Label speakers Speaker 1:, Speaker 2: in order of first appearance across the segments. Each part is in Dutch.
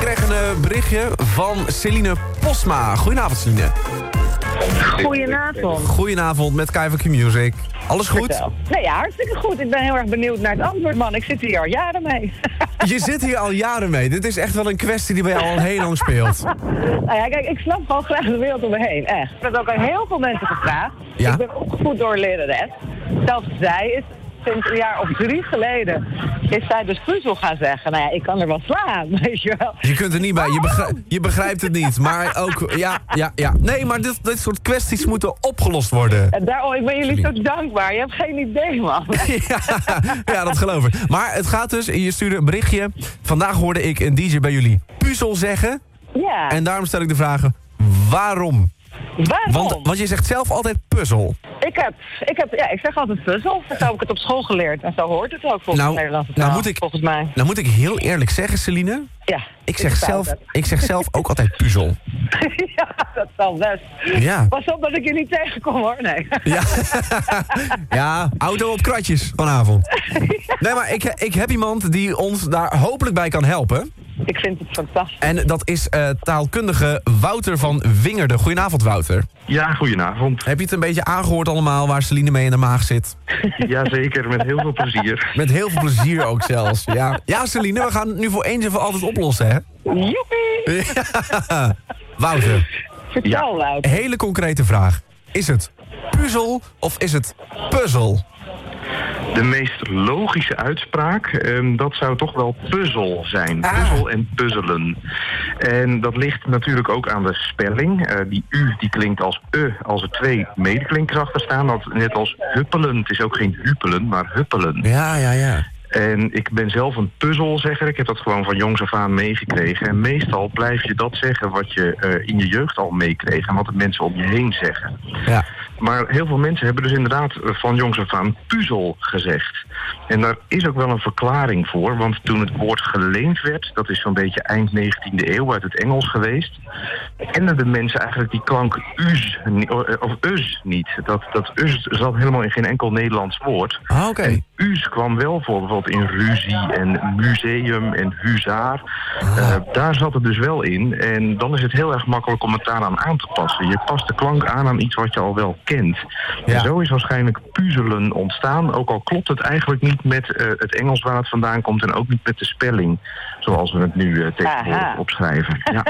Speaker 1: kregen een eh, berichtje van Celine Posma. Goedenavond, Celine.
Speaker 2: Goedenavond.
Speaker 1: Goedenavond met KVK Music. Alles goed?
Speaker 2: Vertel. Nou ja, hartstikke goed. Ik ben heel erg benieuwd naar het antwoord, man. Ik zit hier al jaren mee.
Speaker 1: Je zit hier al jaren mee. Dit is echt wel een kwestie die bij jou al heel lang speelt.
Speaker 2: nou ja, kijk, ik snap gewoon graag de wereld om me heen, echt. Ik heb het ook aan heel veel mensen gevraagd.
Speaker 1: Ja.
Speaker 2: Ik ben opgevoed door een lerares. Zelfs zij is sinds een jaar of drie geleden... is zij dus puzzel gaan zeggen. Nou ja, ik kan er wel slaan, weet je wel.
Speaker 1: Je kunt er niet bij, je, begrijpt- je begrijpt het niet. Maar ook, ja, ja, ja. Nee, maar dit, dit soort kwesties moeten opgelost worden.
Speaker 2: En daar, oh, ik ben jullie zo dankbaar. Je hebt geen idee, man.
Speaker 1: Ja, ja, dat geloof ik. Maar het gaat dus, je stuurde een berichtje. Vandaag hoorde ik een DJ bij jullie puzzel zeggen.
Speaker 2: Ja,
Speaker 1: En daarom stel ik de vraag, waarom?
Speaker 2: waarom?
Speaker 1: Want, want je zegt zelf altijd puzzel.
Speaker 2: Ik heb, ik heb, ja, ik zeg altijd puzzel. Zo heb ik het op school geleerd. En zo hoort het ook volgens
Speaker 1: Nou,
Speaker 2: de Nederlandse
Speaker 1: nou
Speaker 2: taal,
Speaker 1: moet ik-
Speaker 2: Volgens mij.
Speaker 1: Nou moet ik heel eerlijk zeggen, Celine.
Speaker 2: Ja.
Speaker 1: Ik zeg,
Speaker 2: sta
Speaker 1: zelf,
Speaker 2: het.
Speaker 1: ik zeg zelf ook altijd puzzel.
Speaker 2: ja, dat zal best.
Speaker 1: Ja.
Speaker 2: Pas op dat ik je niet tegenkom hoor. Nee.
Speaker 1: Ja, ja auto op kratjes vanavond. Nee, maar ik, ik heb iemand die ons daar hopelijk bij kan helpen.
Speaker 2: ik vind het fantastisch.
Speaker 1: En dat is eh, taalkundige Wouter van Wingerden. Goedenavond, Wouter.
Speaker 3: Ja, goedenavond.
Speaker 1: Heb je het een beetje aangehoord allemaal waar Celine mee in de maag zit?
Speaker 3: Jazeker, met heel veel plezier.
Speaker 1: Met heel veel plezier ook zelfs. Ja, ja Celine, we gaan het nu voor eens en voor altijd oplossen, hè?
Speaker 2: Joepie!
Speaker 1: Ja. Wouter,
Speaker 2: Vertel Wout.
Speaker 1: een hele concrete vraag. Is het puzzel of is het puzzel?
Speaker 3: De meest logische uitspraak, ehm, dat zou toch wel puzzel zijn.
Speaker 1: Ah.
Speaker 3: Puzzel en puzzelen. En dat ligt natuurlijk ook aan de spelling. Eh, die U die klinkt als E als er twee medeklinkers achter staan. Dat, net als huppelen. Het is ook geen huppelen, maar huppelen.
Speaker 1: Ja, ja, ja.
Speaker 3: En ik ben zelf een puzzelzegger. Ik heb dat gewoon van jongs af aan meegekregen. En meestal blijf je dat zeggen wat je eh, in je jeugd al meekreeg. En wat de mensen om je heen zeggen.
Speaker 1: Ja,
Speaker 3: Maar heel veel mensen hebben dus inderdaad eh, van jongs af aan puzzel gezegd. En daar is ook wel een verklaring voor. Want toen het woord geleend werd, dat is zo'n beetje eind 19e eeuw uit het Engels geweest. kenden de mensen eigenlijk die klank us ni- of eh, of us niet. Dat, dat us zat helemaal in geen enkel Nederlands woord.
Speaker 1: Ah, oké.
Speaker 3: En us kwam wel voor bijvoorbeeld in ruzie en museum en huzaar. Eh, daar zat het dus wel in. En dan is het heel erg makkelijk om het daaraan aan te passen. Je past de klank aan aan iets wat je al wel kent.
Speaker 1: Ja.
Speaker 3: En zo is waarschijnlijk puzzelen ontstaan. Ook al klopt het eigenlijk niet met eh, het Engels waar het vandaan komt... en ook niet met de spelling zoals we het nu eh, tegenwoordig
Speaker 2: Aha.
Speaker 3: opschrijven. Ja.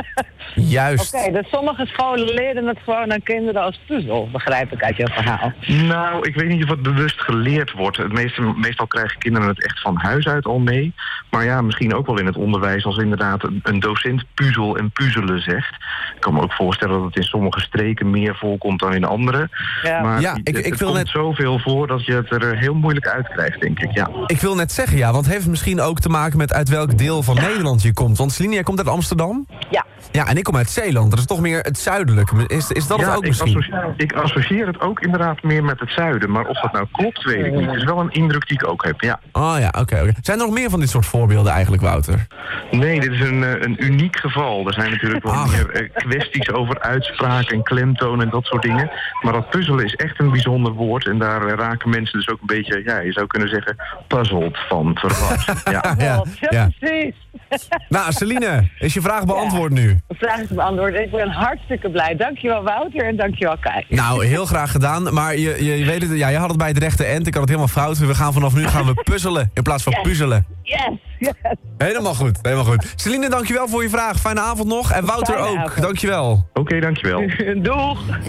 Speaker 1: Juist.
Speaker 2: Oké, dus sommige scholen leren het gewoon aan kinderen als puzzel, begrijp ik uit jouw verhaal.
Speaker 3: Nou, ik weet niet of het bewust geleerd wordt. Het meeste, meestal krijgen kinderen het echt van huis uit al mee. Maar ja, misschien ook wel in het onderwijs als inderdaad een, een docent puzzel en puzzelen zegt. Ik kan me ook voorstellen dat het in sommige streken meer voorkomt dan in andere.
Speaker 2: Ja.
Speaker 3: Maar
Speaker 1: Ja, ik-
Speaker 3: het,
Speaker 1: ik
Speaker 3: het
Speaker 1: wil
Speaker 3: komt
Speaker 1: net-
Speaker 3: zoveel voor dat je het er eh, heel moeilijk uit krijgt, denk ik. Ja.
Speaker 1: Ik wil net zeggen, ja, want heeft het misschien ook te maken met uit welk deel van Nederland je komt? Want Celine, jij komt uit Amsterdam?
Speaker 2: Ja,
Speaker 1: Ja, en ik kom uit Zeeland. Dat is toch meer het zuidelijke. Is, is dat
Speaker 3: ja,
Speaker 1: het ook
Speaker 3: ik,
Speaker 1: misschien?
Speaker 3: associeer, ik associeer het ook inderdaad meer met het zuiden. Maar of dat nou klopt, weet ik niet. Het is wel een indruk die ik ook heb, ja.
Speaker 1: Oh ja, oké. oké. Zijn er nog meer van dit soort voorbeelden eigenlijk, Wouter?
Speaker 3: Nee, dit is een, eh, een uniek geval. Er zijn natuurlijk wel
Speaker 1: Ach.
Speaker 3: meer eh, kwesties over uitspraak en klemtoon en dat soort dingen. Maar dat puzzelen is echt een bijzonder woord. En daar eh, raken mensen dus ook een beetje, ja, je zou kunnen zeggen, puzzeld van verrast. Ja.
Speaker 1: Ja,
Speaker 2: klopt. ja.
Speaker 1: ja.
Speaker 2: precies.
Speaker 1: Nou, Celine, is je vraag beantwoord nu?
Speaker 2: De vraag is beantwoord. Ik ben hartstikke blij. Dankjewel Wouter en dankjewel Kai.
Speaker 1: Nou, heel graag gedaan. Maar je, je, je weet het, ja, je had het bij het rechte end. Ik had het helemaal fout. We gaan vanaf nu gaan we puzzelen in plaats van puzzelen.
Speaker 2: Yes, yes.
Speaker 1: Helemaal goed, helemaal goed. Celine, dankjewel voor je vraag. Fijne avond nog. En Wouter
Speaker 2: Fijne
Speaker 1: ook,
Speaker 2: avond.
Speaker 1: dankjewel.
Speaker 3: Oké, dankjewel.
Speaker 2: Doeg.